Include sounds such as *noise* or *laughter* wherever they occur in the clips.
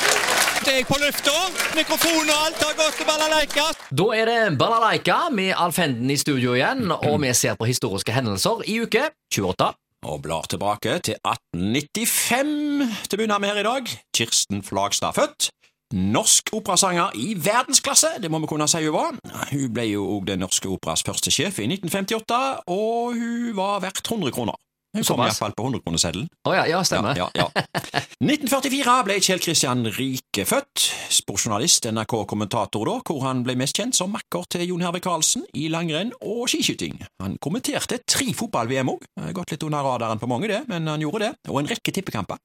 Snart er jeg på lufta. Mikrofon og alt har gått til balalaika. Da er det Balalaika med Alf Henden i studio igjen, og vi ser på historiske hendelser i uke 28. Og blar tilbake til 1895 til å begynne med her i dag. Kirsten Flagstad født. Norsk operasanger i verdensklasse, det må vi kunne si hun var. Hun ble jo òg Den norske operas første sjef i 1958, og hun var verdt 100 kroner. Hun kom Såpass. iallfall på 100-kroneseddelen. Å ja, ja, Ja, stemmer. ja, ja. *laughs* 1944 ble Kjell Kristian Rike født. Sportsjournalist, NRK-kommentator da, hvor han ble mest kjent som makker til Jon Herve Karlsen i langrenn og skiskyting. Han kommenterte tre fotball-VM òg. Gått litt under radaren på mange, det, men han gjorde det. Og en rekke tippekamper.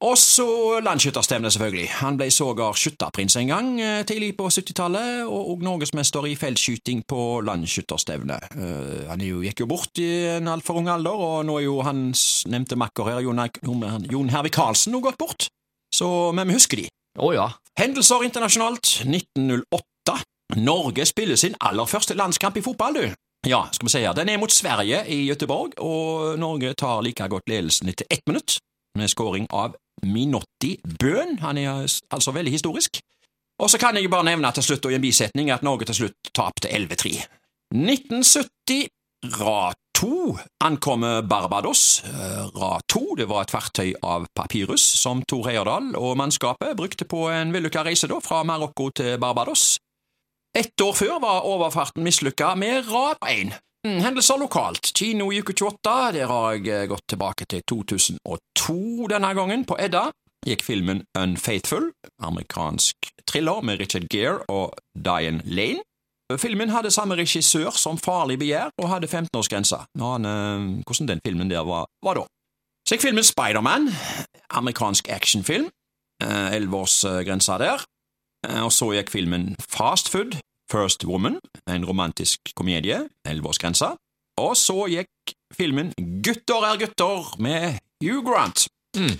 Og så landsskytterstevnet, selvfølgelig. Han ble sågar skytterprins en gang eh, tidlig på 70-tallet, og, og norgesmester i feltskyting på landsskytterstevnet. Eh, han er jo, gikk jo bort i en altfor ung alder, og nå er jo hans nevnte makker her, Jon, Eik- Jon- Jon Hervik Karlsen, nå gått bort. Så, men vi husker de. Å ja. Hendelser internasjonalt 1908. Norge spiller sin aller første landskamp i fotball, du. Ja, skal vi si her. Den er mot Sverige i Göteborg, og Norge tar like godt ledelsen etter ett minutt, med skåring av Minotti Bøhn. Han er altså veldig historisk. Og så kan jeg bare nevne til slutt og i en bisetning at Norge til slutt tapte 11-3. 1970, Ra 2, ankommer Barbados. Eh, Ra 2 det var et fartøy av papyrus som Tor Heyerdahl og mannskapet brukte på en vellykka reise da, fra Marokko til Barbados. Ett år før var overfarten mislykka med Ra 1. Mm, Hendelser lokalt. Kino i uke 28. Der har jeg eh, gått tilbake til 2002 denne gangen, på Edda. Gikk filmen Unfaithful, amerikansk thriller med Richard Gere og Diane Lane. Filmen hadde samme regissør som Farlig begjær og hadde 15-årsgrense. Nå han, eh, Hvordan den filmen der var, var da. Så gikk filmen Spiderman, amerikansk actionfilm. Elleveårsgrensa der. Eh, Og så gikk filmen Fast Food, First Woman, en romantisk komedie, elleveårsgrensa. Og så gikk filmen Gutter er gutter med Hugh Grant. Mm.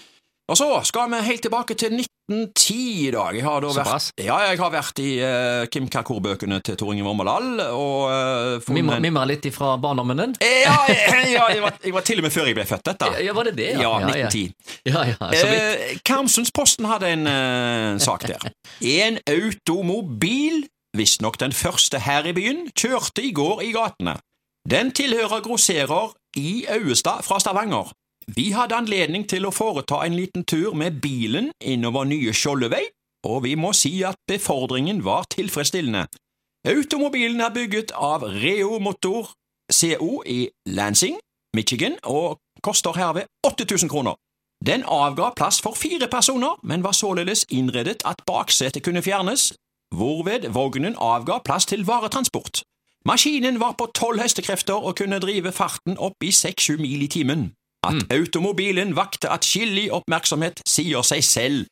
Og så skal vi helt tilbake til 1910 i dag. Jeg har da vært, Såpass. ja, jeg har vært i eh, Kim Kakur-bøkene til Tor Inge Vormedal og eh, Mimre, funnet- mimre litt ifra barndommen din? Eh, Ja, eh, ja jeg, var, jeg var til og med før jeg ble født, dette. Ja, var det det? Ja, ja. 1910. ja, ja, så vidt. Eh, Karmsundsposten hadde en eh, sak der. *laughs* En automobil, visstnok den første her i byen, kjørte i går i gatene. Den tilhører grosserer i Auestad fra Stavanger. Vi hadde anledning til å foreta en liten tur med bilen innover nye Skjoldevei, og vi må si at befordringen var tilfredsstillende. Automobilen er bygget av Reo Motor CO i Lansing, Michigan, og koster herved 8000 kroner. Den avga plass for fire personer, men var således innredet at baksetet kunne fjernes, hvorved vognen avga plass til varetransport. Maskinen var på tolv hestekrefter og kunne drive farten opp i seks–sju mil i timen. At Mm. automobilen vakte atskillig oppmerksomhet, sier seg selv.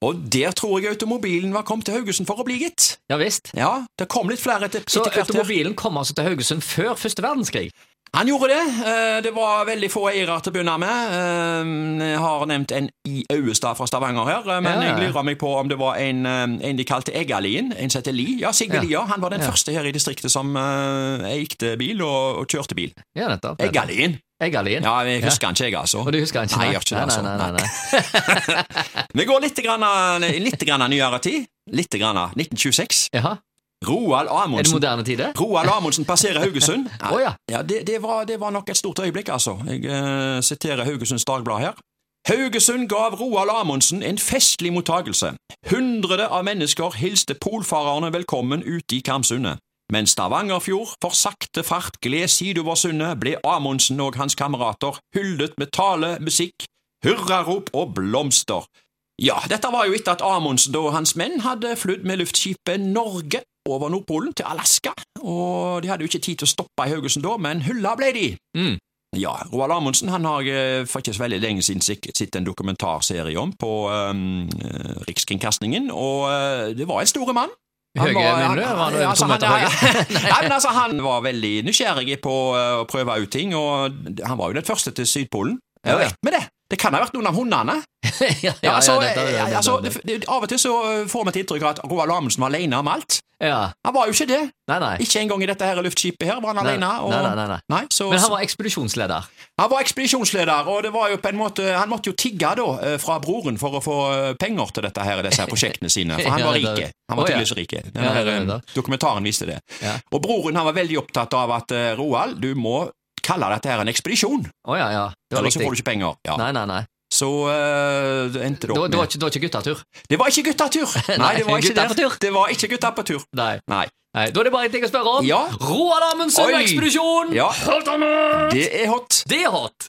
Og der tror jeg automobilen var kommet til Haugesund for å bli, gitt. ja visst. Ja, det kom litt flere etter, Så etter hvert. her. automobilen kom altså til Haugesund før første verdenskrig? Han gjorde det. Eh, Det var veldig få eiere til å begynne med. Eh, Jeg har nevnt en i Auestad fra Stavanger her, eh, Ja. men jeg lurer meg på om det var en, eh, en de kalte Eggalien. En som heter Li. Ja, Sigve Ja. Lia. Han var den Ja. første her i distriktet som eh, eikte bil og, og kjørte bil. Ja, nettopp. nettopp. Eggalien. Eggalien. Ja, jeg husker han ikke, jeg, altså. Og du husker han ikke? Nei, jeg gjør ikke det, altså. Nei, nei, nei, nei. Vi går litt, grann, eh, litt grann nyere tid. Litt grann. 1926. Jaha. Roald Er det Amundsen. moderne tider? Roald Amundsen passerer Haugesund. Å ja. Ja, det, det, var, det var nok et stort øyeblikk, altså. Jeg eh, siterer Haugesunds Dagblad her. Haugesund gav Roald Amundsen en festlig mottagelse. Hundrede av mennesker hilste polfarerne velkommen ute i Karmsundet. Mens Stavangerfjord for sakte fart gled sidover sundet, ble Amundsen og hans kamerater hyllet med tale, musikk, hurrarop og blomster. Ja, dette var jo etter at Amundsen og hans menn hadde flydd med luftskipet Norge over Nordpolen til Alaska, og de hadde jo ikke tid til å stoppe i Haugesund da, men hylla ble de. Mm. Ja, Roald Amundsen han har jeg eh, for ikke så veldig lenge siden sik- sett en dokumentarserie om på ehm, eh, Rikskringkastingen, og eh, det var en store mann. Høye, mener du? Var han over altså, to meter høye? *laughs* Nei, men altså, han var veldig nysgjerrig på eh, å prøve ut ting, og han var jo den første til Sydpolen. Ja, Jeg ja. vet med det. Det kan ha vært noen av hundene. *laughs* ja, ja, Ja, altså, nettopp, eh, nettopp, altså, nettopp. det- det- Av og til så eh, får vi et inntrykk av at Roald Amundsen var alene om alt. Ja. Han var jo ikke det. Nei, nei. Ikke engang i dette her luftskipet her var han Nei, alene. Og, nei, nei, nei, nei. så, Men han var ekspedisjonsleder. ekspedisjonsleder, og det var jo på en måte, han måtte jo tigge da eh, fra broren for å få eh, penger til dette her, disse her prosjektene sine. For *laughs* han Ja, var det er rike. det. Å, Han var ja. tydeligvis rike. Ja, Denne det her, er det eh, dokumentaren viste det. Ja. Og broren han var veldig opptatt av at eh, Roald, du må kalle dette her en ekspedisjon, Å ja, ja. Det var ellers så riktig. får du ikke penger. Ja. Nei, nei, nei. Så eh, det endte Det det var, opp det var med ikke, det var ikke guttatur. Det var ikke *laughs* gutta-tur! Nei, det var ikke gutta det. på tur. Det var ikke gutta på tur. Nei. Nei. nei. Da er det bare en ting å spørre om. Ja. Roald Amundsen og Oi. ekspedisjon! Ja. Hot or not? Det er hot. Det er hot!